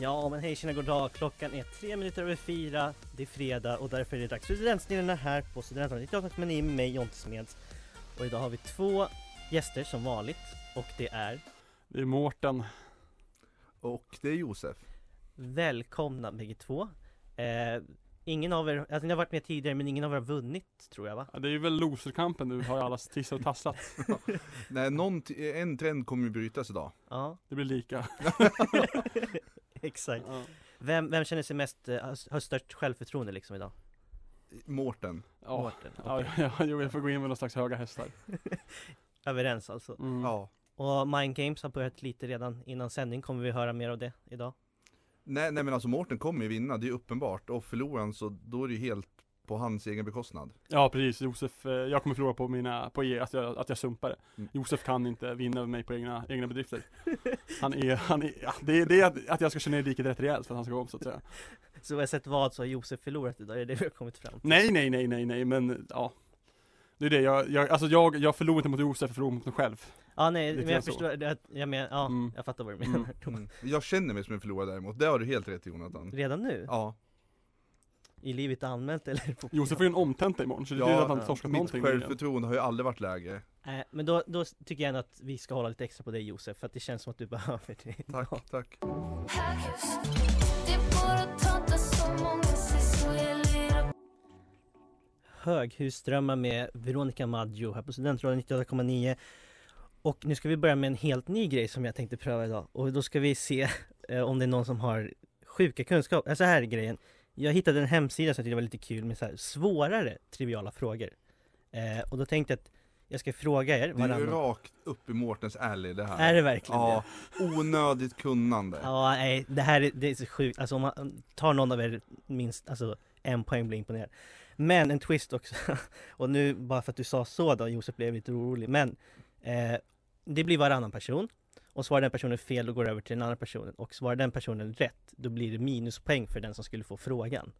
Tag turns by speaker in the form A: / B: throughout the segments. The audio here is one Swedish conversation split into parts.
A: Ja, men hej tjena, god dag. Klockan är tre minuter över fyra. Det är fredag och därför är det dags för Studentsnillena här på Studentradion 98,9 med mig Jonte Smeds. Och idag har vi två gäster som vanligt och det är
B: Det är Mårten.
C: Och det är Josef.
A: välkomna bägge två. Eh, ingen av er, alltså ni har varit med tidigare men ingen av er har vunnit tror jag va?
B: Ja, Det är väl loserkampen nu har ju alla tissat och tassat.
C: Nej, någon t- en trend kommer ju brytas idag.
A: Ja,
B: Det blir lika.
A: exakt.
B: Ja.
A: Vem, vem känner sig mest, eh, har har störst självförtroende liksom idag?
C: Mårten.
B: Ja.
A: Mårten,
B: Ja,
A: okej.
B: ja, jo, jag får gå in med någon slags höga hästar.
A: Överens alltså.
B: Mm.
C: Ja.
A: Och Mind Games har börjat lite redan innan sändning, kommer vi höra mer av det idag?
C: Nej, nej men alltså Mårten kommer ju vinna, det är ju uppenbart. Och förlorar han så då är det ju helt på hans egen bekostnad.
B: Ja, precis. Josef, eh, jag kommer förlora på mina, på er, att jag, att jag sumpar det.
C: Mm.
B: Josef kan inte vinna över mig på egna, egna bedrifter. Han är, han är, ja, det är, det är att- att jag ska köra ner diket rätt rejält för att han ska gå om så att säga.
A: Så oavsett vad så har Josef förlorat idag, är det det vi har kommit fram till?
B: Nej, nej, nej, nej, nej, men ja. Det är det, jag, jag alltså jag, jag förlorar inte mot Josef, jag förlorar mot mig själv.
A: Ja nej,
B: Lite
A: men jag
B: typ så.
A: förstår, det- att- jag menar, ja,
B: Mm.
A: jag fattar vad du
B: Mm.
A: menar
C: Jag känner mig som en förlorare däremot, det har du helt rätt i, Jonathan.
A: Redan nu?
C: Ja,
A: I livet allmänt eller? på-
B: Josef får ju en omtenta imorgon, så det är
C: Ja,
B: ja, att han
A: ja.
B: inte torskat
C: mitt
B: någonting. nyligen.
C: självförtroende har ju aldrig varit lägre.
A: Nej, Eh, men då, då tycker jag ändå att vi ska hålla lite extra på dig Josef, för att det känns som att du behöver det
C: Tack, tack.
A: Höghusdrömmar med Veronica Maggio här på Studentradion 98,9 Och nu ska vi börja med en helt ny grej som jag tänkte pröva idag och då ska vi se eh, om det är någon som har sjuka kunskap, alltså här är grejen Jag hittade en hemsida som jag tyckte var lite kul med så här svårare triviala frågor eh, Och då tänkte jag att jag ska fråga er
C: Det är ju
A: varannan
C: rakt upp i Mårtens alley det här.
A: Är det verkligen det?
C: Ja, onödigt kunnande.
A: Ja, nej, det här är, det är så sjukt. Alltså om man tar någon av er minst, alltså en poäng blir jag imponerad. Men en twist också. Och nu, bara för att du sa så då, Josef blev lite orolig. Men eh, det blir varannan person. Och svarar den personen fel, då går det över till den andra personen. Och svarar den personen rätt, då blir det minuspoäng för den som skulle få frågan.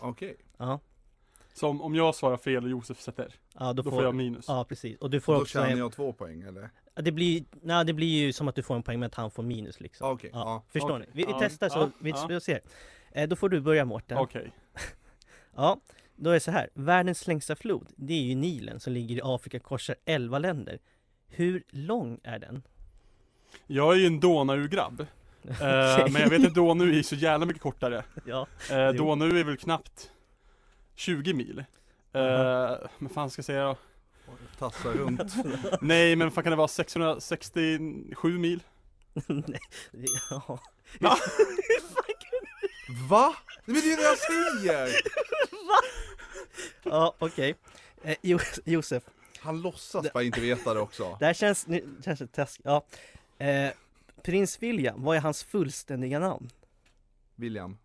C: Okej.
A: Ja,
B: Som om jag svarar fel och Josef sätter,
A: ja då,
B: då får jag minus.
A: Ja, precis. Och du får
C: Då
A: också
C: tjänar
A: en,
C: jag två poäng eller?
A: ja, det, blir, nej, det blir ju som att du får en poäng, men att han får minus liksom.
C: Okej, ja.
A: Förstår
B: Okej.
A: ni? Vi, vi
B: Ja.
A: testar så
B: Ja.
A: vi,
B: Ja.
A: vi ser. Eh, då får du börja Mårten.
B: Okej.
A: Ja, då är det så här. Världens längsta flod, det är ju Nilen som ligger i Afrika och korsar 11 länder. Hur lång är den?
B: Jag är ju en Donau-grabb, eh, men jag vet att Donau är så jävla mycket kortare.
A: Ja,
B: Eh,
A: Jo.
B: Donau är väl knappt 20 mil. Eh,
A: Aha.
B: men fan ska jag säga då?
C: Tassa runt.
B: Nej men fan kan det vara 667 mil?
A: nej, det- ja.
B: Va?
A: Hur fan kan du-
C: Va? Nej, Men det är det jag säger!
A: ja, okej. Eh, jo, Josef,
C: Han låtsas bara inte veta det också.
A: det här känns, nu känns det taskigt. Ja. Eh, Prins William, vad är hans fullständiga namn?
C: William.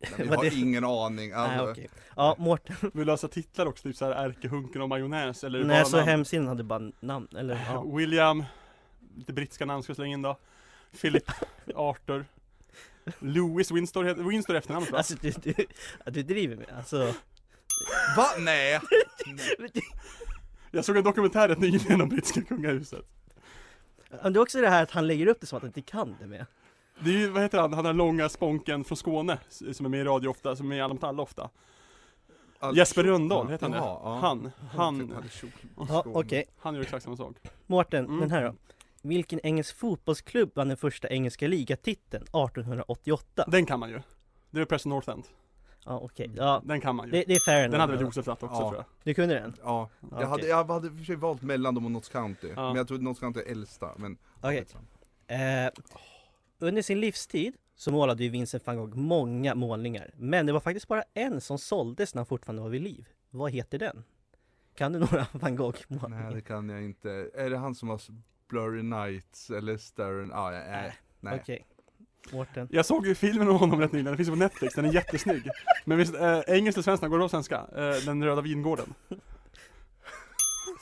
C: Nej, vi
A: Vad
C: har
A: det-
C: ingen aning. Alltså,
A: Nej, okej. Ja, Mårten.
B: Vill du läsa titlar också? Typ såhär Ärkehunken och majonnäs eller bara
A: Nej, så
B: namn?
A: hemsidan hade bara namn, eller ja.
B: William, lite brittiska namn ska jag slänga in då. Philip, Arthur. Louis Winstor, heter- Winstor är efternamnet va?
A: Alltså du, du, du driver med alltså.
C: Va? Nej!
B: Jag såg en dokumentär rätt nyligen om brittiska kungahuset.
A: Men det är också det här att han lägger upp det som att han inte kan det med.
B: Det är ju, vad heter han, han har långa sponken från Skåne s- som är med i radio ofta, som är med i Alla mot alla ofta.
C: Al-
B: Jesper Rundahl,
C: Ja,
B: heter han det?
C: Alltså, jaha, ja. typ
B: Han, han,
C: Al- Schulman.
A: Ja, okej.
B: han gör exakt samma sak.
A: Mårten,
B: Mm.
A: den här då. Vilken engelsk fotbollsklubb vann den första engelska ligatiteln 1888?
B: Den kan man ju. Det är Preston North End.
A: Ja, okej. Ja,
B: Den kan man ju.
A: det, det är fair
B: Den hade väl
A: ändå.
B: Josef Ratt också
C: Ja.
B: tror jag.
A: Du kunde den?
C: Ja, jag,
A: Okej.
C: hade, jag hade i och för sig valt mellan dem och Notts County,
B: Ja.
C: men jag trodde Notts County är äldsta, men
A: Okej. Eh, under sin livstid så målade ju Vincent van Gogh många målningar. Men det var faktiskt bara en som såldes när han fortfarande var vid liv. Vad heter den? Kan du några van Gogh-målningar?
C: Nej det kan jag inte. Är det han som har s- Blurry Nights eller Starren? Ah, ja, nej. nej.
A: Okej. Mårten.
B: Jag såg ju filmen om honom rätt nyligen, den finns ju på Netflix, den är jättesnygg. Men visst, eh, engelskt eller svenskt, går det av svenska? Eh, den röda vingården.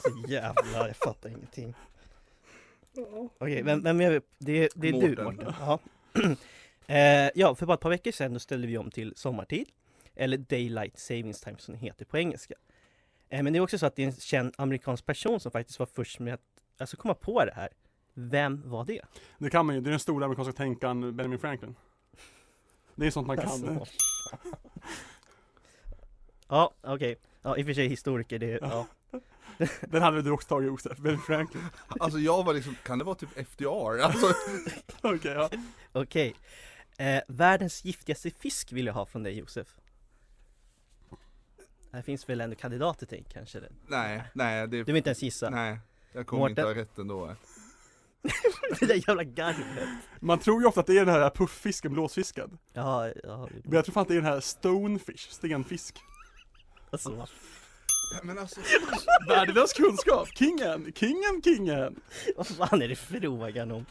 A: Så jävlar, jag fattar ingenting. Okej, vem, vem är vi? Det, det är du
C: Mårten.
A: Mårten. Ja. Eh, ja, för bara ett par veckor sedan då ställde vi om till sommartid. Eller Daylight Savings Time som det heter på engelska. Eh, men det är också så att det är en känd amerikansk person som faktiskt var först med att alltså, komma på det här. Vem var det?
B: Det kan man ju, det är den stora amerikanska tänkaren Benjamin Franklin. Det är sånt man kan.
A: Alltså. ja, okej. Ja, i och för sig historiker, det är... Ja.
B: Den hade väl du också tagit Josef, Benjamin Franklin.
C: Alltså jag var liksom, kan det vara typ FDR? Alltså,
B: Okej, ja.
A: Okej. Eh, världens giftigaste fisk vill jag ha från dig Josef. Här finns väl ändå kandidater till kanske? Det.
C: nej, nej, det,
A: Du vill inte ens gissa?
C: nej. Jag kommer
A: Mårten.
C: inte ha rätt ändå.
A: det där jävla garvet!
B: Man tror ju ofta att det är den här pufffisken, blåsfisken.
A: Ja, ja,
B: Men jag tror fan att det är den här stonefish, stenfisk.
A: alltså,
C: Men alltså,
B: Värdelös kunskap! Kingen, kingen, kingen!
A: vad fan är det frågan om?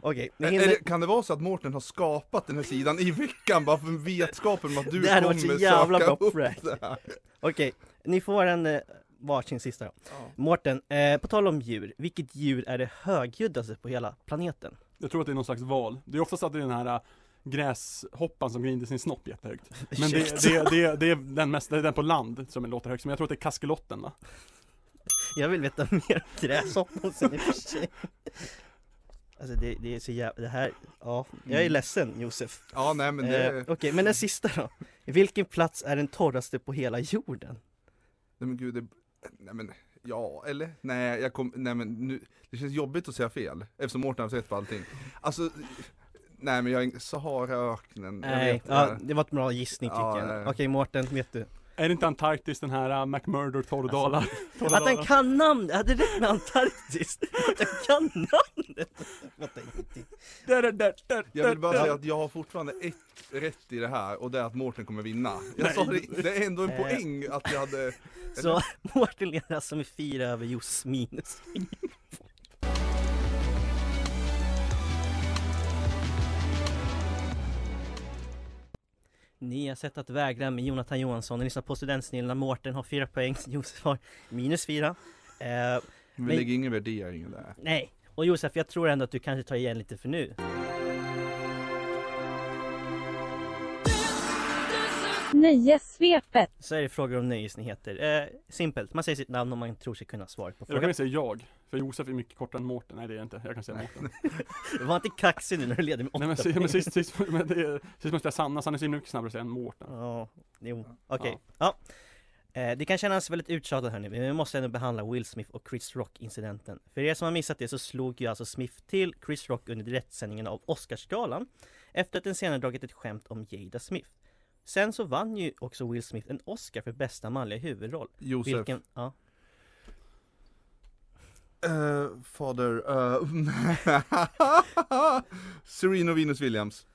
A: Okej, ni
C: är,
A: hinner...
C: det, kan det vara så att Mårten har skapat den här sidan i veckan bara för vetskapen om att du
A: Det hade varit så
C: kommer
A: jävla
C: söka
A: bra
C: upp
A: prank.
C: det här?
A: Okej, ni får en eh, varsin sista då.
C: Ja.
A: Mårten, eh, på tal om djur, vilket djur är det högljuddaste på hela planeten?
B: Jag tror att det är någon slags val. Det är oftast att det är den här äh, gräshoppan som gnider sin snopp jättehögt. Men det,
A: Ursäkta.
B: det, det, det är den mest, det är den på land som låter högst, men jag tror att det är kaskelotten va?
A: Jag vill veta mer om gräshoppan sen i och för sig. Alltså det, det är så jävla, det här, ja, jag är
C: Mm.
A: ledsen Josef.
C: ja, nej men det,
A: Eh, Okej, men den sista då. Vilken plats är den torraste på hela jorden?
C: nej men gud, det, nej men, ja eller? Nej, jag kom, nej men nu, det känns jobbigt att säga fel eftersom Mårten har rätt på allting. Alltså, nej men jag, är- Saharaöknen, jag
A: Nej,
C: vet
A: ja,
C: inte.
A: det var ett bra gissning tycker
C: Ja,
A: jag.
C: nej.
A: Okej Mårten, vet du?
B: Är det inte Antarktis den här äh, McMurdo torrdalar?
A: Att den kan namnet! Jag hade rätt med Antarktis! Att den kan namnet! Jag fattar ingenting.
B: Där, där, där, där,
C: Jag vill bara
B: där.
C: säga att jag har fortfarande ett rätt i det här och det är att Mårten kommer vinna. Jag
B: Nej.
C: sa det, det är ändå en
A: Eh.
C: poäng att jag hade
A: Så Mårten leder alltså med fyra över Joss minus fyra. Ni har sett att vägra med Jonathan Johansson, ni lyssnar på Studentsnillena, Mårten har fyra poäng, Josef har minus fyra. Eh,
C: Vi
A: Men-
C: lägger ingen värdering där.
A: nej, och Josef jag tror ändå att du kanske tar igen lite för nu.
D: Nöjessvepet.
A: Så är det frågor om nöjesnyheter. Eh, simpelt, man säger sitt namn om man tror sig kunna svaret på
B: Jag kan
A: frågan.
B: väl säga jag, för Josef är mycket kortare än Mårten. Nej det är jag inte, jag kan säga Mårten.
A: Var inte kaxig nu när du leder med åtta
B: Nej men, si-
A: poäng.
B: men sist, sist, men det är, sist måste jag sanna, Sanna är så himla mycket snabbare att säga än Mårten.
A: Ja, jo, okej. Ja. Eh, Det kan kännas väldigt uttjatat här nu, men vi måste ändå behandla Will Smith och Chris Rock-incidenten. För er som har missat det så slog ju alltså Smith till Chris Rock under direktsändningen av Oscarsgalan efter att den senare dragit ett skämt om Jada Smith. Sen så vann ju också Will Smith en Oscar för bästa manliga huvudroll.
C: Josef,
A: Vilken, ja.
C: Eh, fader, eh, Serena Venus Williams.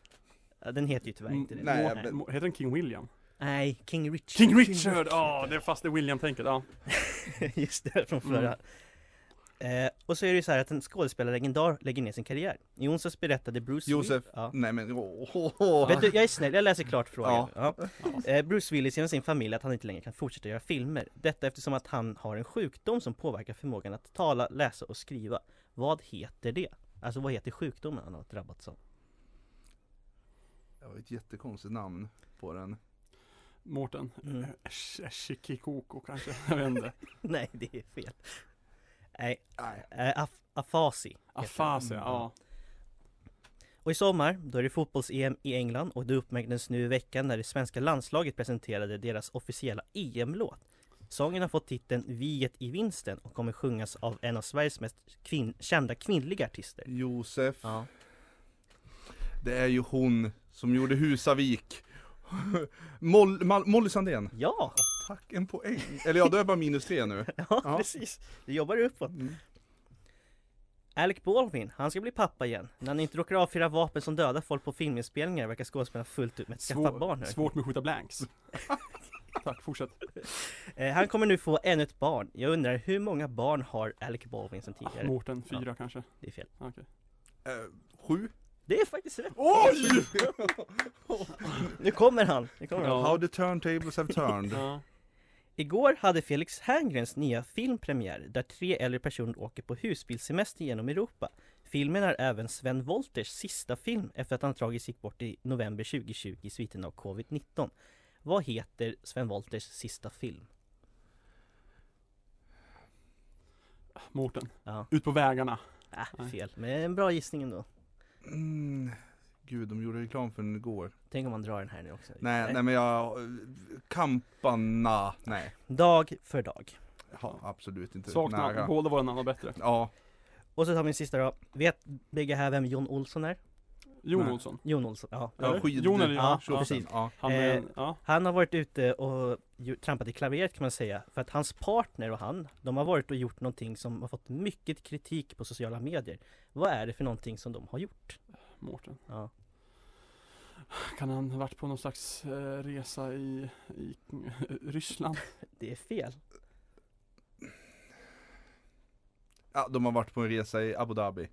A: Ja, Den heter ju tyvärr inte det.
B: Mm,
C: Nej,
B: Må-
C: men-
B: Må- Heter den King William?
A: Nej, King Richard.
B: King Richard! Ja, det är fast det är William-tänket, ja.
A: Just det, från
B: Mm.
A: förra. Eh, och så är det ju så här att en skådespelarlegendar lägger ner sin karriär. I onsdags berättade Bruce
C: Josef.
A: Will- ja.
C: Nej men åh, åh, åh.
A: Vet du, jag är snäll, jag läser klart frågan. Ja.
B: Ja.
A: Eh, Bruce Willis genom sin familj att han inte längre kan fortsätta göra filmer. Detta eftersom att han har en sjukdom som påverkar förmågan att tala, läsa och skriva. Vad heter det? Alltså vad heter sjukdomen han har drabbats av?
C: Det var ett jättekonstigt namn på
A: Eh.
C: den.
B: Mårten.
A: Mm.
B: Esh- Eshikikoko kanske, jag vet inte.
A: Nej, det är fel. Nej,
C: Nej.
B: Ah,
A: eh, af- afasi. heter det.
B: Afasi, ja.
A: Och i sommar, då är det fotbolls-EM i England och det uppmärksammades nu i veckan när det svenska landslaget presenterade deras officiella EM-låt. Sången har fått titeln Viet i vinsten och kommer sjungas av en av Sveriges mest kvinn- kända kvinnliga artister.
C: Josef,
A: Ja.
C: det är ju hon som gjorde Husavik. Moll, Mal, Molly Sandén.
A: Ja,
C: Tack, en poäng. Eller ja, då är jag bara minus tre nu.
A: ja,
C: Ja.
A: precis! Det jobbar uppåt.
C: Mm.
A: Alec Baldwin, han ska bli pappa igen. När han inte råkar avfyra vapen som dödar folk på filminspelningar verkar skådespelaren fullt ut med att skaffa
B: Svår-
A: barn nu.
B: Svårt med att skjuta blanks. Tack, fortsätt.
A: Eh, han kommer nu få ännu ett barn. Jag undrar hur många barn har Alec Baldwin som
B: Ah,
A: tidigare?
B: Mårten, fyra kanske.
C: Mm.
A: Det är fel.
B: Ah, Okej.
C: Eh, sju?
A: Det är faktiskt rätt!
C: Oj!
A: Nu kommer han! Nu kommer han.
B: Ja.
C: How the turntables have turned.
B: Ja.
A: Igår hade Felix Herngrens nya film premiär där tre äldre personer åker på husbilsemester genom Europa. Filmen är även Sven Wolters sista film efter att han tragiskt gick bort i november 2020 i sviten av covid-19. Vad heter Sven Wolters sista film?
B: Mårten.
A: Ja.
B: Ut på vägarna.
A: Äh,
B: Nej.
A: fel, men en bra gissning ändå.
C: Mm. Gud, de gjorde reklam för den igår.
A: Tänk om man drar den här nu också.
C: Nej, nej men jag... Kampana. Nej,
A: Dag för dag.
C: ja, absolut inte
B: Saknar
C: nära.
B: båda våra namn var bättre.
C: Ja,
A: Och så tar vi en sista då. Vet bägge här vem Jon Olsson är?
B: Jon
C: Nej.
B: Olsson.
A: Jon Olsson, ja.
C: ja
B: Eller?
C: skid...
B: Jon eller
A: ja,
B: ja,
A: jo,
B: ja,
A: precis.
C: Ja.
B: Han är
A: Eh,
B: en, ja.
A: Han har varit ute och ju- trampat i klaveret kan man säga För att hans partner och han De har varit och gjort någonting som har fått mycket kritik på sociala medier Vad är det för någonting som de har gjort?
B: Mårten.
A: Ja,
B: Kan han ha varit på någon slags eh, resa i, i Ryssland?
A: det är fel
C: ja, de har varit på en resa i Abu Dhabi.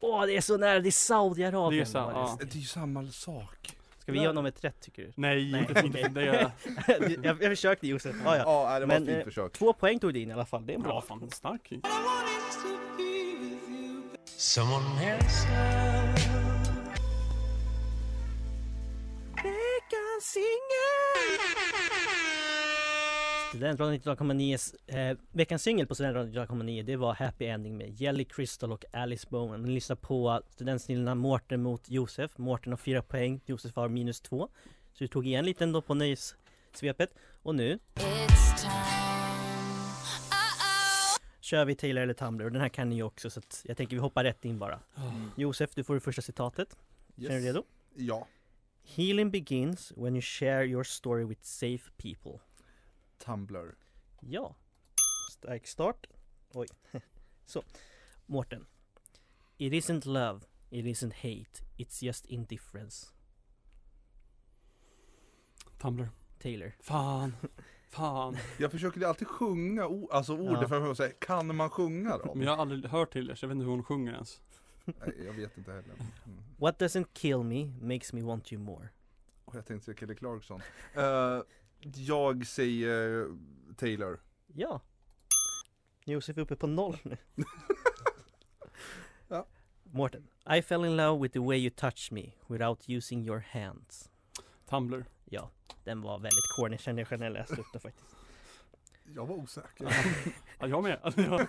A: Åh det är så nära, det är Saudiarabien
B: Det är Sa-
A: var det.
B: ja.
C: Det är ju samma sak.
A: Ska vi ge honom ett rätt tycker du?
B: Nej,
A: Nej,
B: inte, inte
A: okej.
B: det. Är,
A: jag, jag försökte Josef, ja, ja.
C: Ja, det var
A: Men,
C: ett fint
A: eh,
C: försök.
A: Två poäng tog du in i alla fall, det är
B: ja,
A: bra
B: fan en stark hit.
D: Someone else.
A: Veckans singel! Studentradion 19,9 eh, Veckans singel på Studentradion 19,9 det var Happy Ending med Jelly Crystal och Alice Bowen. Ni lyssnar på studentsnillena Mårten mot Josef. Mårten har fyra poäng, Josef har minus två. Så du tog igen lite ändå på nöjessvepet. Och nu
E: It's time. Uh-oh.
A: kör vi Taylor eller Tumblr och den här kan ni ju också så att jag tänker vi hoppar rätt in bara. Josef, du får det första citatet. Är du redo?
C: Ja.
A: Healing begins when you share your story with safe people.
C: Tumblr.
A: Ja. Stark start. Oj. Så. Mårten. It isn't love. It isn't hate. It's just indifference.
B: Tumblr.
A: Taylor.
B: Fan. Fan.
C: Jag försöker ju alltid sjunga o- alltså orden
A: Ja.
C: för att säga, kan man sjunga dem?
B: Men jag har aldrig hört till er, så jag vet inte hur hon sjunger ens.
C: Nej, jag vet inte heller. Mm.
A: What doesn't kill me makes me want you more.
C: Och jag tänkte säga Kelly Clarkson. Eh, jag säger Taylor.
A: Ja. Josef är uppe på noll nu.
C: Ja.
A: Mårten. I fell in love with the way you touched me without using your hands.
B: Tumblr.
A: Ja, den var väldigt corny känner jag själv när jag läste upp den faktiskt.
C: Jag var osäker.
B: Ja, jag med. Alltså, jag,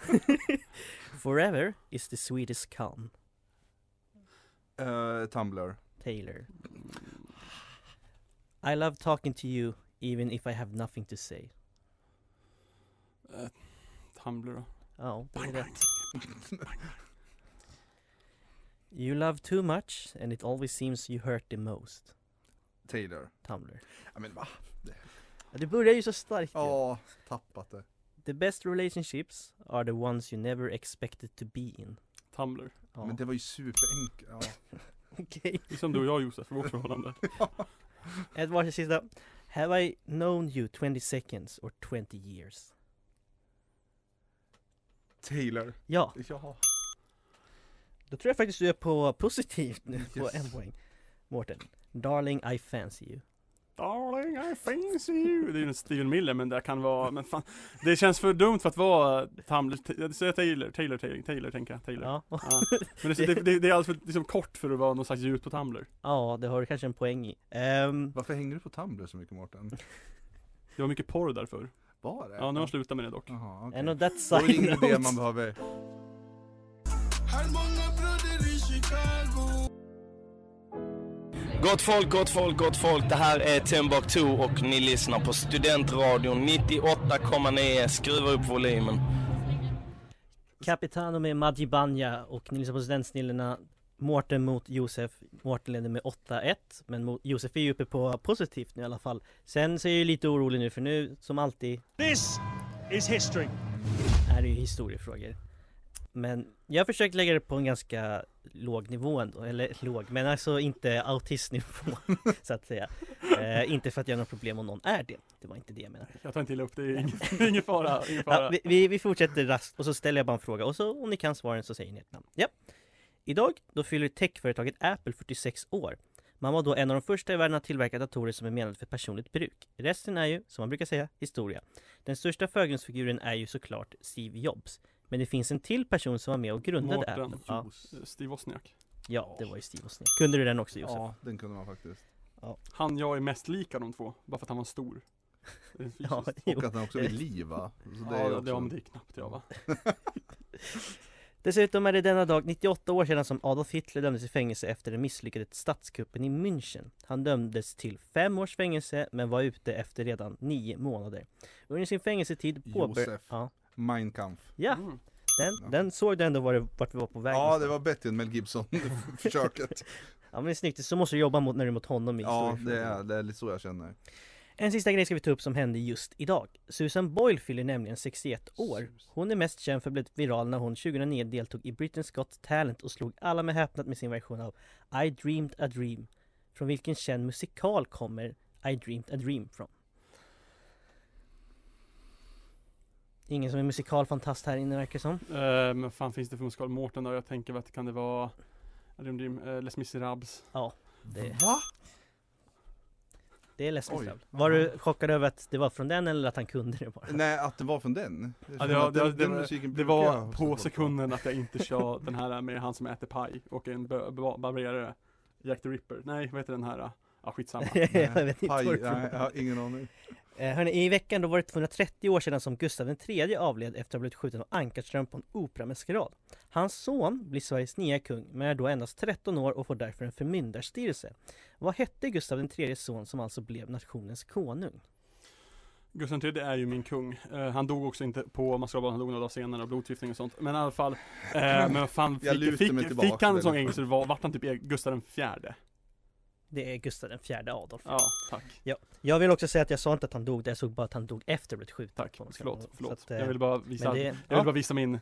A: Forever is the sweetest calm.
C: Eh, Tumblr.
A: Taylor. I love talking to you even if I have nothing to say.
B: eh, Tumblr då.
A: Ja, Oh, det är rätt. You love too much and it always seems you hurt the most.
C: Taylor.
A: Tumblr.
C: Ja men va?
A: Ja, det börjar ju så starkt ju.
C: Ja, tappat det.
A: The best relationships are the ones you never expected to be in.
B: Tumblr.
A: Ja,
C: Men det var ju superenkelt. Ja.
A: okej.
B: Det är som du och jag Josef, för vårt förhållande.
A: Ett varsin sista. Have I known you 20 seconds or 20 years?
C: Taylor.
A: Ja,
C: Ja.
A: då tror jag faktiskt du är på positivt nu på
C: Yes.
A: en poäng. Mårten. Darling I fancy you.
B: Darling I fancy you. Det är ju en Steven Miller, men det kan vara, men fan. Det känns för dumt för att vara Tumblr. T- Jag säger Taylor, Taylor, Taylor, Taylor tänker jag. Taylor.
A: Ja.
B: Ja. Men det, det, det, det är alldeles för liksom, kort för att vara någon slags ljud på Tumblr.
A: Ja, det har du kanske en poäng i. Ehm,
C: Varför hänger du på Tumblr så mycket Mårten?
B: Det var mycket porr därför.
C: Var det?
B: Ja, nu har jag slutat med det dock.
C: Jaha, okej.
A: and on that
C: Då är det
A: side
C: inte det man
A: note,
C: behöver.
F: Gott folk, gott folk, gott folk. Det här är Timbuktu och ni lyssnar på Studentradion 98,9. Skruva upp volymen.
A: Capitano med Maggi Banja och ni lyssnar på Studentsnillena Mårten mot Josef Mårten leder med 8-1 Men Mo- Josef är ju uppe på positivt nu i alla fall Sen så är jag ju lite orolig nu för nu som alltid
G: This is history.
A: är det ju historiefrågor Men jag har försökt lägga det på en ganska låg nivå ändå, eller låg men alltså inte autistnivå så att säga eh, Inte för att jag har något problem om någon är det, det var inte det jag menade
B: Jag tar inte illa upp, det är ingen, det är ingen fara. Ingen
A: Ja,
B: fara.
A: vi- vi, vi fortsätter rast och så ställer jag bara en fråga och så om ni kan svaren så säger ni ett namn. Ja. Idag, då fyller techföretaget Apple 46 år. Man var då en av de första i världen att tillverka datorer som är menade för personligt bruk. Resten är ju, som man brukar säga, historia. Den största förgrundsfiguren är ju såklart Steve Jobs. Men det finns en till person som var med och grundade
B: Mårten.
A: Apple. Ja,
B: Steve Wozniak.
A: ja, det var ju Steve Wozniak. Kunde du den också Josef?
C: Ja, den kunde man faktiskt.
B: Han jag är mest lik av de två, bara för att han var stor. Det är fysiskt.
A: Ja, jo.
C: Och att den också vill liva. Så det är
B: ja, det,
C: också...
B: ja, men det är knappt jag va?
A: Dessutom är det denna dag 98 år sedan som Adolf Hitler dömdes i fängelse efter den misslyckade statskuppen i München. Han dömdes till fem års fängelse men var ute efter redan nio månader. Under sin fängelsetid påbörjade...
C: Josef.
A: Ja,
C: Mein Kampf.
A: ja
B: Mm.
A: den, den såg du ändå var det, vart vi var på väg
C: Ja, det
A: någonstans.
C: var bättre än Mel Gibson-försöket.
A: ja men det är snyggt, så måste du jobba mot när du är mot honom i
C: ja, det
A: historiefrågan.
C: är, det är lite så jag känner.
A: En sista grej ska vi ta upp som hände just idag. Susan Boyle fyller nämligen 61 år. Hon är mest känd för att bli viral när hon 2009 deltog i Britain's Got Talent och slog alla med häpnad med sin version av I dreamed a dream. Från vilken känd musikal kommer I dreamed a dream från? Ingen som är musikalfantast här inne verkar det som.
B: Eh, men vad fan finns det för musikal? Mårten då? Jag tänker vad kan det vara? Rim, rim, eh, Les Misérables.
A: Det,
C: Va?
A: det är Les
C: Oj.
A: Miserables. Var du chockad över att det var från den eller att han kunde det bara?
C: Nej, att det var från den. Jag
B: Ja,
C: känner
B: det,
C: att den-
B: det,
C: den
B: det,
C: musiken
B: det
C: brukar jag ha
B: var på
C: stått
B: sekunden att jag inte kör den här med han som äter paj och en bö- ba- barberare. Jack the Ripper. Nej, vad heter den här? Ja, skitsamma.
C: Nej,
A: jag vet inte
C: Paj,
A: varför.
C: nej, jag har ingen aning.
A: Eh, Hörni, i veckan då var det 230 år sedan som Gustav III avled efter att ha blivit skjuten av Ankarström på en operamaskerad. Hans son blir Sveriges nya kung, men är då endast 13 år och får därför en förmyndarstyrelse. Vad hette Gustav IIIs son som alltså blev nationens konung?
B: Gustav III är ju min kung. Eh, han dog också inte på maskerad, han dog några dagar senare av blodförgiftning och sånt. Men i alla fall. Eh, men vad fan,
C: Jag
B: fick,
C: lutar mig
B: fick,
C: tillbaka
B: fick han en
C: där
B: sån
C: lite.
B: ängel så det var, vart han typ e- Gustav den fjärde.
A: Det är Gustav IV Adolf.
B: Ja, tack.
A: Jag vill också säga att jag sa inte att han dog där, jag såg bara att han dog efter att ha blivit skjuten.
B: Tack.
A: på maskerad.
B: Förlåt,
A: Så
B: förlåt.
A: att, eh,
B: jag ville bara visa,
A: men det,
B: jag
A: ja,
B: vill bara visa min eh,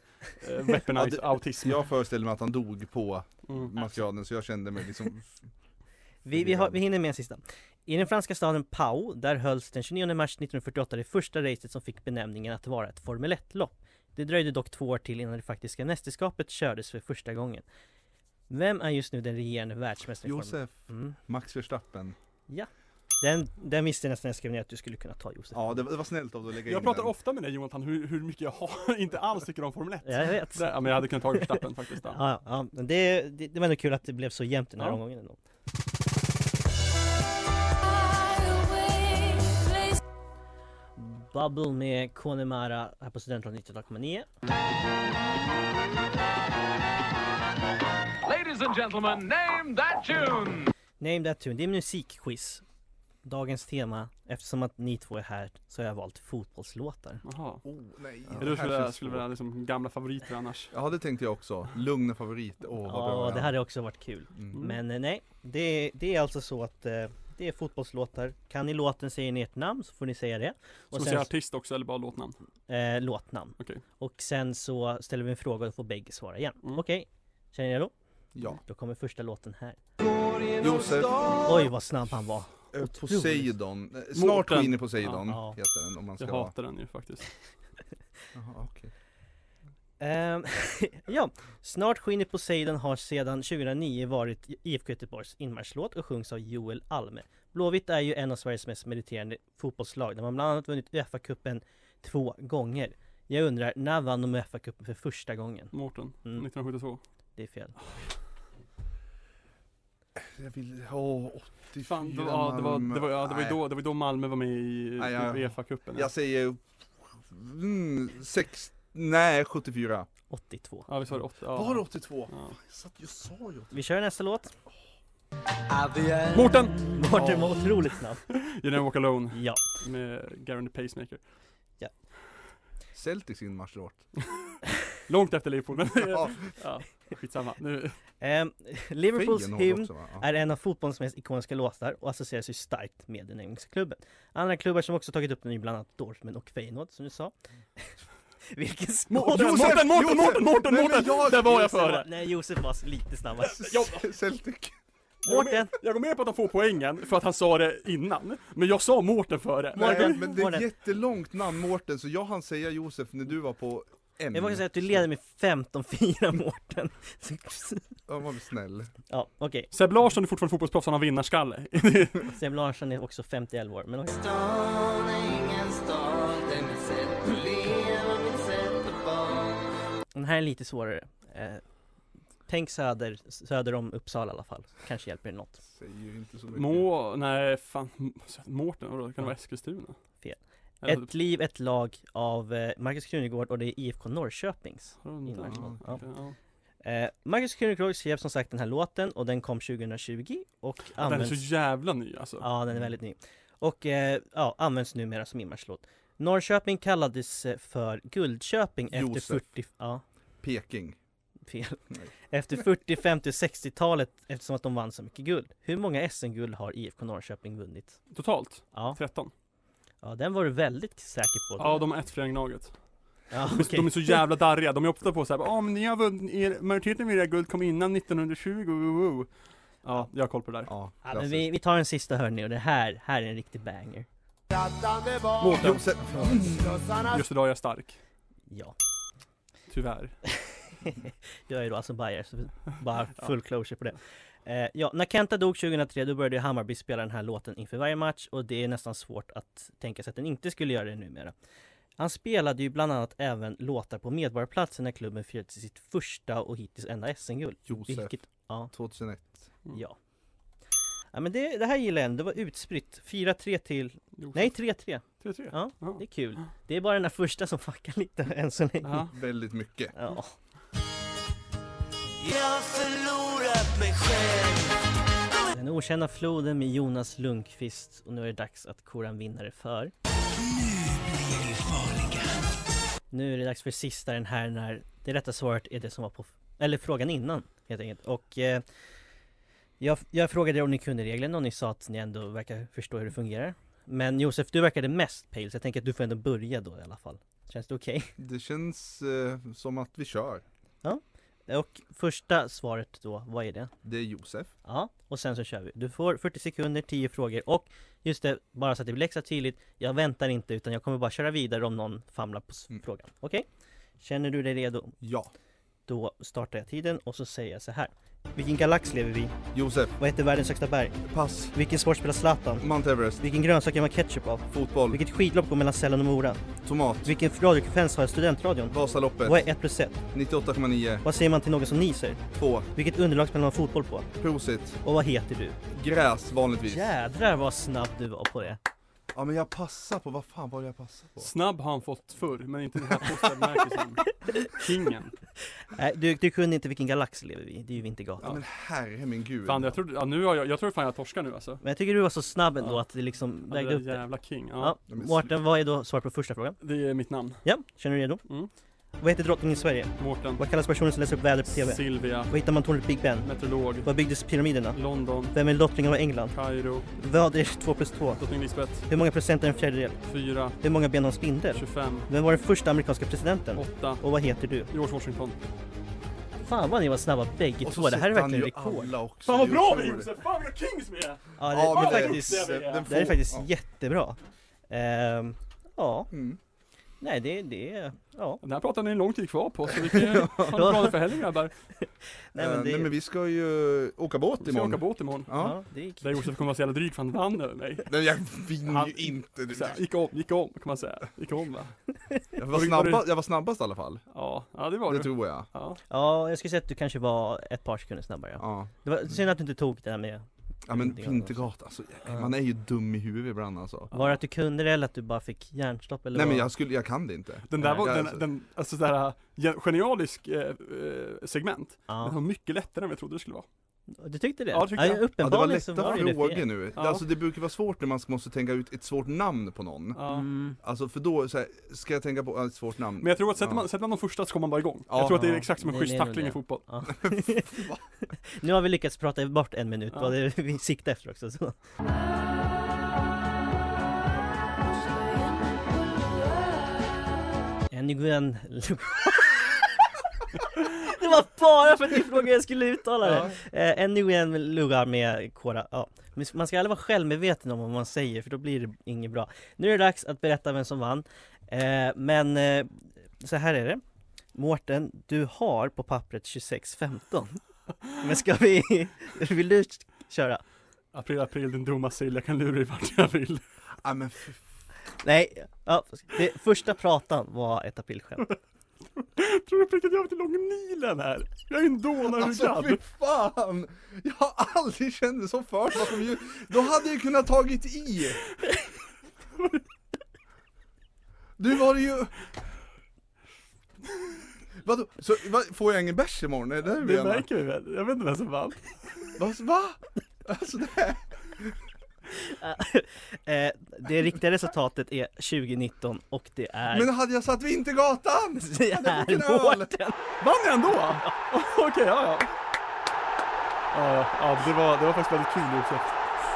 C: Ja,
B: weaponized
C: det-
B: autism.
C: Jag föreställer mig att han dog på
B: Mm.
C: maskeraden, så jag kände mig liksom...
A: vi, vi, har, vi hinner med en sista. I den franska staden Pau, där hölls den 29 mars 1948 det första racet som fick benämningen att vara ett Formel 1-lopp. Det dröjde dock två år till innan det faktiska mästerskapet kördes för första gången. Vem är just nu den regerande världsmästaren i Formel
C: Josef,
A: Mm.
C: Max Verstappen.
A: Den, den visste jag nästan när jag skrev ner att du skulle kunna ta Josef.
C: Ja, det var, det var snällt av dig att lägga in
B: Jag pratar
C: den.
B: ofta med dig Jonathan hur, hur mycket jag har, inte alls tycker om Formel 1.
A: Jag vet.
B: Det, ja, men jag hade kunnat ta Verstappen faktiskt. Ja.
A: Ja, ja, men det, det, det var ändå kul att det blev så jämnt den här
B: Ja.
A: omgången ändå. Bubble med Konemara här på Studentradion 98,9.
H: Ladies and gentlemen, name that tune!
A: Name that tune, det är musikquiz. Dagens tema, eftersom att ni två är här så har jag valt fotbollslåtar.
B: Jaha.
C: Oh, nej.
B: Eller hur
C: det här
B: skulle,
C: känns
B: skulle
C: svårt.
B: vara liksom gamla favoriter annars?
C: Ja, det tänkte jag också. Lugna favorit. Åh, vad bra
A: Ja, det
C: jag är.
A: hade också varit kul.
C: Mm.
B: Mm.
A: Men eh, nej, det, det är alltså så att eh, det är fotbollslåtar. Kan ni låten säger ni ert namn så får ni säga det. Och
B: Ska vi
A: sen,
B: säga artist också eller bara låtnamn?
A: eh, låtnamn.
B: Okej.
A: Och sen så ställer vi en fråga och då får bägge svara igen.
B: Mm.
A: Okej, känner ni er redo?
C: Ja.
A: Då kommer första låten här.
C: Josef,
A: Oj vad snabb han var!
C: eh, Poseidon. Eh, Snart
B: Mårten.
C: skiner Poseidon,
A: Ja, ja.
C: heter den om man ska
B: Jag
C: vara...
B: hatar den ju faktiskt.
C: Jaha, okej.
A: Ehm, ja, Snart skiner Poseidon har sedan 2009 varit IFK Göteborgs inmarschlåt och sjungs av Joel Alme. Blåvitt är ju en av Sveriges mest meriterande fotbollslag där man bland annat vunnit Uefa-cupen två gånger. Jag undrar, när vann de Uefa-cupen för första gången?
B: Mårten,
A: Mm.
B: 1972.
A: Det är fel.
C: Jag vill... Åh, 84
B: Fan, det var, ja, det var, det var, ja, det var ju
C: Nej.
B: då, det var ju då Malmö var med i
C: Nej, ja.
B: Uefa-cupen. Ja.
C: Jag säger... Mm, sex... Nej, 74.
A: 82.
B: ja, vi sa det åtta. Ja.
C: Var det 82?
B: Ja.
C: Jag satt- Jag sa ju
A: Vi kör nästa låt.
B: Mårten!
A: Mårten var otroligt snabb.
B: You never walk alone
A: Ja.
B: med Garen the Pacemaker.
C: Celtics inmarschlåt.
B: Långt efter Liverpool men
C: Ja,
B: ja, skitsamma. Nu,
A: Ehm, Liverpools
C: Fegen
A: hymn
C: också, va? Ja.
A: är en av fotbollens mest ikoniska låtar och associeras ju starkt med den engelska klubben. Andra klubbar som också tagit upp den är ju bland annat Dortmund och Feyenoord som du sa.
B: Mm.
A: Vilken
C: Mårten,
A: spår!
C: Mårten,
B: Mårten, Mårten, Mårten,
C: Josef!
B: Mårten,
C: Nej, men
B: Mårten!
C: jag-
B: Där var jag
C: Josef
B: före.
A: Nej, Josef var lite snabbare.
C: Celtic.
A: Mårten!
B: Jag går med på att han får poängen för att han sa det innan. Men jag sa Mårten före.
A: Mårten,
C: Nej, men det är
A: Mårten.
C: ett jättelångt namn Mårten, så jag hann säga Josef när du var på M.
A: Jag vågar säga att du leder med 15-4 Mårten.
C: Ja, var snäll.
A: Ja, okej.
B: Seb Larsson är fortfarande fotbollsproffs, han har vinnarskalle.
A: Sam Larsson är också 51 år, men okej. Den här är lite svårare. Eh, tänk söder, söder om Uppsala i alla fall. Kanske hjälper det något.
C: Säger ju inte så mycket.
B: Må, nej fan, Mårten, vadå, kan det vara Eskilstuna?
A: Fel.
B: Eller,
A: Ett liv, ett lag av eh, Marcus Krunegård och det är IFK Norrköpings.
B: har de inte-
A: innan.
B: ja.
A: Ja. Eh, Marcus Krunegård skrev som sagt den här låten och den kom 2020 och
B: Ja. Den är
A: används...
B: så jävla ny alltså.
A: Ja, den är väldigt ny. Och eh, ja, används numera som inmarschlåt. Norrköping kallades eh, för Guldköping efter
C: Josef.
A: 40... Ja,
C: Peking.
A: fel.
C: Nej.
A: Efter 40, 50 och 60-talet eftersom att de vann så mycket guld. Hur många SM-guld har IFK Norrköping vunnit?
B: Totalt,
A: Ja,
B: 13.
A: ja den var du väldigt säker på.
B: Ja, de har ett fler än Gnaget.
A: ja,
B: De är-
A: okej.
B: De är så jävla darriga, de är ofta på såhär, ja men ni har vunnit, er, majoriteten av era guld kom innan 1920, woo, woo. Ja, jag har koll på det där.
C: Ja,
A: Ja, men vi, vi tar en sista hörni och det här, här är en riktig banger.
B: Mårten,
C: Josef.
B: just idag är jag stark.
A: Ja.
B: Tyvärr.
A: Jag är då alltså Bayer, så bara full closure på det. Eh, ja, när Kenta dog 2003 då började ju Hammarby spela den här låten inför varje match och det är nästan svårt att tänka sig att den inte skulle göra det numera. Han spelade ju bland annat även låtar på Medborgarplatsen när klubben firade sitt första och hittills enda SM-guld.
C: Josef.
A: Vilket, ja,
C: 2001.
B: Mm.
A: ja. Ja men det, det här gillar jag ändå. det var utspritt. 4-3 till, nej 3-3.
B: 3-3.
A: Ja,
B: Ja.
A: det är kul. Det är bara den här första som fuckar lite än så länge.
B: Ja.
C: Väldigt mycket.
A: Ja. Den okända floden med Jonas Lundqvist och nu är det dags att kora en vinnare för. Nu är det dags för sista den här när det rätta svaret är det som var på, eller frågan innan helt enkelt. Och eh, jag, jag frågade er om ni kunde reglerna och ni sa att ni ändå verkar förstå hur det fungerar. Men Josef, du verkade mest pale så jag tänker att du får ändå börja då i alla fall. Känns det okej?
C: Det känns eh, som att vi kör.
A: Och första svaret då, vad är det?
C: Det är Josef.
A: Ja, och sen så kör vi. Du får 40 sekunder, 10 frågor och just det, bara så att det blir extra tydligt, jag väntar inte utan jag kommer bara köra vidare om någon famlar på s-
C: Mm.
A: frågan. Okej? Känner du dig redo?
C: Ja.
A: Då startar jag tiden och så säger jag så här. Vilken galax lever vi i?
C: Josef.
A: Vad heter världens högsta berg?
C: Pass.
A: Vilken sport spelar Zlatan?
C: Mount Everest.
A: Vilken grönsak gör man ketchup av?
C: Fotboll.
A: Vilket skidlopp går mellan Sälen och Mora?
C: Tomat.
A: Vilken radiofrekvens har studentradion?
C: Vasaloppet.
A: Vad är 1 plus 1?
C: 98,9.
A: Vad säger man till någon som nyser?
C: 2.
A: Vilket underlag spelar man fotboll på?
C: Prosit.
A: Och vad heter du?
C: Gräs vanligtvis.
A: Jädrar vad snabb du var på det!
C: Ja men jag passar på, vad fan var det jag passade på?
B: Snabb har han fått förr, men inte den här postadmärkelsen. Kingen.
A: Nej, du, du kunde inte vilken galax lever vi i, det är ju Vintergatan.
C: Ja men herre min gud.
B: Fan, jag trodde, ja, nu har jag, jag tror fan jag torskar nu alltså.
A: Men jag tycker du var så snabb ändå
B: Ja.
A: att det liksom
B: Ja, det
A: vägde
B: där
A: upp det.
B: jävla king. Ja.
A: Ja.
C: Ja, men
A: Mårten, vad är då svaret på första frågan?
B: Det är mitt namn.
A: Ja, känner du dig redo?
B: Mm.
A: Vad heter drottningen i Sverige?
B: Mårten.
A: Vad kallas personen som läser upp vädret på TV?
B: Silvia.
A: Vad hittar man tornet Big Ben?
B: Meteorolog.
A: Var byggdes pyramiderna?
B: London.
A: Vem är lottlingen av England?
B: Kairo.
A: Vad är 2 plus 2?
B: Drottning Lisbeth.
A: Hur många procent är en fjärdedel?
B: 4.
A: Hur många ben har en spindel?
B: 25.
A: Vem var den första amerikanska presidenten?
B: 8.
A: Och vad heter du?
B: George Washington.
A: Fan vad ni var snabba bägge
C: Och så
A: två, det här är
C: sätter han
A: verkligen
C: ju
A: rekord!
C: alla också.
B: Fan vad
C: Det är
B: bra vi är
C: otroligt.
B: Josef! Fan vilka kings vi är!
A: Ja, det,
C: Ja, men
A: är
C: det är
A: faktiskt,
B: den- den
A: det här är
C: får-
A: faktiskt
C: ja.
A: jättebra! Ehm, ja,
C: Mm.
A: nej det, det, är- ja
B: Den här pratar ni en lång tid kvar på, så vi kan ju ha en plan för helgen grabbar.
A: Nej men
C: Eh,
A: det,
C: Nej men vi ska ju åka båt
B: Vi ska åka
C: imorgon.
B: båt imorgon.
C: Ja.
A: ja, det gick
B: Där Josef kommer att vara så jävla dryg för han vann över mig.
C: Nej jag vinner
B: Han-
C: ju inte. det.
B: Så här, gick om, gick om kan man säga. Gick om va?
C: Jag var,
B: Vad-
C: snabbast, jag var snabbast i alla fall.
B: Ja, ja det var
C: Det
B: du.
C: tror jag.
B: Ja.
A: Ja, jag skulle säga att du kanske var ett par sekunder snabbare ja.
C: Ja.
A: Det var synd att du inte tog det där med
C: Ja men
A: Vintergatan.
C: Vintergatan, alltså, man är ju dum i huvudet ibland alltså.
A: Var det att du kunde det eller att du bara fick hjärnstopp eller
C: Nej men
A: vad?
C: jag, skulle, jag kan det inte.
B: Den där var,
C: Ja,
B: den,
C: alltså.
B: den, alltså sådär genialisk eh, eh, segment. Den
A: ja.
B: var mycket lättare än vad jag trodde det skulle vara.
A: Du tyckte det?
B: Ja, tyckte jag.
C: Ja, det var
A: uppenbarligen så
C: lätta
A: var det ju det
C: frågor
A: fel.
C: nu.
B: Ja.
C: Alltså det brukar vara svårt när man måste tänka ut ett svårt namn på någon.
B: Ja.
A: Mm.
C: Alltså för då, så här, ska jag tänka på ett svårt namn?
B: Men jag tror att sätter man,
C: Ja.
B: sätter man de första så kommer man bara igång.
C: Ja.
B: Jag tror att det är exakt som en
A: Det-
B: schysst
A: det är nog
B: tackling i
A: det.
B: fotboll.
A: Ja. nu har vi lyckats prata bort en minut,
B: Ja.
A: vad det är vi siktar efter också. Så. En Nguyen Lu- Det var bara för att ni frågade hur jag skulle uttala det! Eh, En Nguyen Lugar med Kora, ja. Men Man ska aldrig vara självmedveten om vad man säger för då blir det inget bra. Nu är det dags att berätta vem som vann. Eh, Men eh, så här är det. Mårten, du har på pappret 26-15. Men ska vi, vill du köra?
B: April, april, din dumma sill, jag kan lura dig vart jag vill.
C: Ja, men för
A: Nej, ja, det, första pratan var ett aprilskämt.
B: Tror du på riktigt jag har varit i Långnilen här? Jag är en
C: Alltså fy
B: dånarhuggad.
C: fan! Jag har aldrig känt mig så för bakom ljud. Då hade jag kunnat tagit i! Du var ju... Vadå? Så, va, får jag ingen bärs imorgon? Är det det du
B: Det
C: menar?
B: märker vi väl? Jag vet inte vem som vann.
C: Va? va? Alltså det här...
A: Eh, det riktiga resultatet är 2019 och det är...
C: Men hade jag satt Vintergatan?
A: det
C: hade jag fått
A: är
C: en öl?
A: Mårten!
B: Vann jag ändå? Okej, ja ja. Ja, ja, ja det, var, det var faktiskt väldigt kul Josef.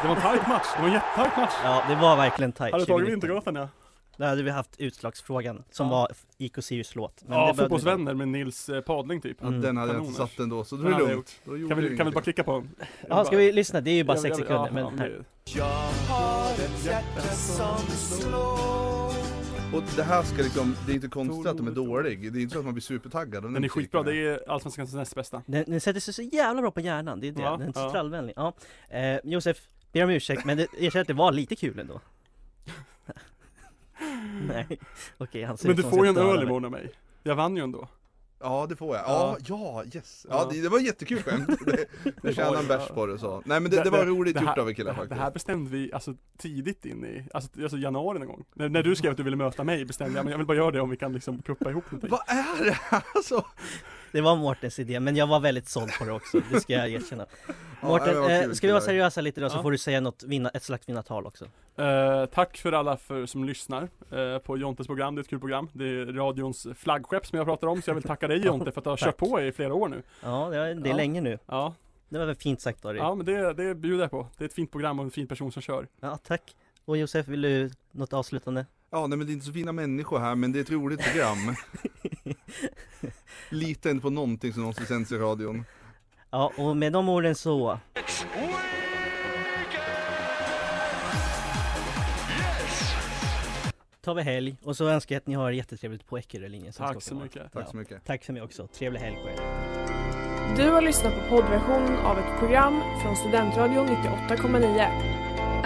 B: Det var en tajt match, det var en jättetajt match.
A: Ja, det var verkligen tajt.
B: Hade du tagit
A: 2019.
B: Vintergatan ja.
A: Då hade vi haft utslagsfrågan som
B: Ja.
A: var IK Sirius låt. Men
B: Ja,
A: det behövde vi inte.
B: Fotbollsvänner med Nils eh, Padling typ.
C: Ja, den hade jag inte
B: Kanoners.
C: satt ändå, så då
B: Den
C: är
B: hade jag
C: det lugnt. Då gjorde
B: Kan
C: det
B: vi, kan vi bara
C: ingenting.
B: klicka på den?
A: Ja, ska vi lyssna? Det är ju bara
B: Jag-
A: 6
B: jag-
A: sekunder.
B: ja,
A: men
B: ja,
A: här.
B: det-
C: Och det här ska liksom, det är inte konstigt att de är dålig. Det är inte så att man blir supertaggad.
B: Den är skitbra, det är Allsvenskans näst bästa.
A: Den, den sätter sig så jävla bra på hjärnan, det är det.
B: Ja,
A: den är
B: ja.
A: trallvänlig. Ja. Eh, Josef, ber om ursäkt men det- erkänn att det var lite kul ändå. Nej, okej han ser
B: Men
A: ut
B: du
A: som
B: får ju
A: han
B: en
A: ska
B: öl
A: döda
B: imorgon av mig. Jag vann ju ändå.
C: Ja det får jag, ja, ja yes! Ja,
B: Ja.
C: Det, det var jättekul skämt, det, det tjänar en bärs på det så Nej men det, det var roligt
B: det här-
C: gjort av er killar
B: det här-
C: faktiskt
B: Det här bestämde vi alltså tidigt in i, alltså, alltså januari någon gång. När, när du skrev att du ville möta mig bestämde jag, men jag vill bara göra det om vi kan liksom kuppa ihop någonting.
C: Vad är det här alltså?
A: Det var Mårtens idé, men jag var väldigt såld på det också, det ska jag erkänna.
C: nej,
A: Mårten,
C: men vad
A: eh,
C: kul,
A: ska vi vara
C: killar.
A: seriösa lite då så
B: Ja.
A: får du säga något, vinna, ett slags vinnartal också.
B: Eh, tack för alla för, som lyssnar eh, på Jontes program, det är ett kul program. Det är radions flaggskepp som jag pratar om, så jag vill tacka dig Jonte för att du har kört
A: Tack.
B: på i flera år nu.
A: Ja, det, var, det är
B: Ja.
A: länge nu.
B: Ja,
A: Det var väl fint sagt av dig. Ja.
B: ja men det, det bjuder jag på. Det är ett fint program och en fin person som kör.
A: tack. Och Josef, vill du något avslutande?
C: Ja nej men det är inte så fina människor här men det är ett roligt program Lita inte på någonting som någonsin sänds i radion
A: Ja, och med de orden så... Tar vi helg och så önskar jag att ni har jättetrevligt på Eckerölinjen. som
B: Tack
A: ska
B: så
A: åka
B: mycket.
C: Tack
A: Ja.
C: så mycket
A: Tack för mig också. Trevlig helg på er.
I: Du har lyssnat på poddversionen av ett program från Studentradion 98,9.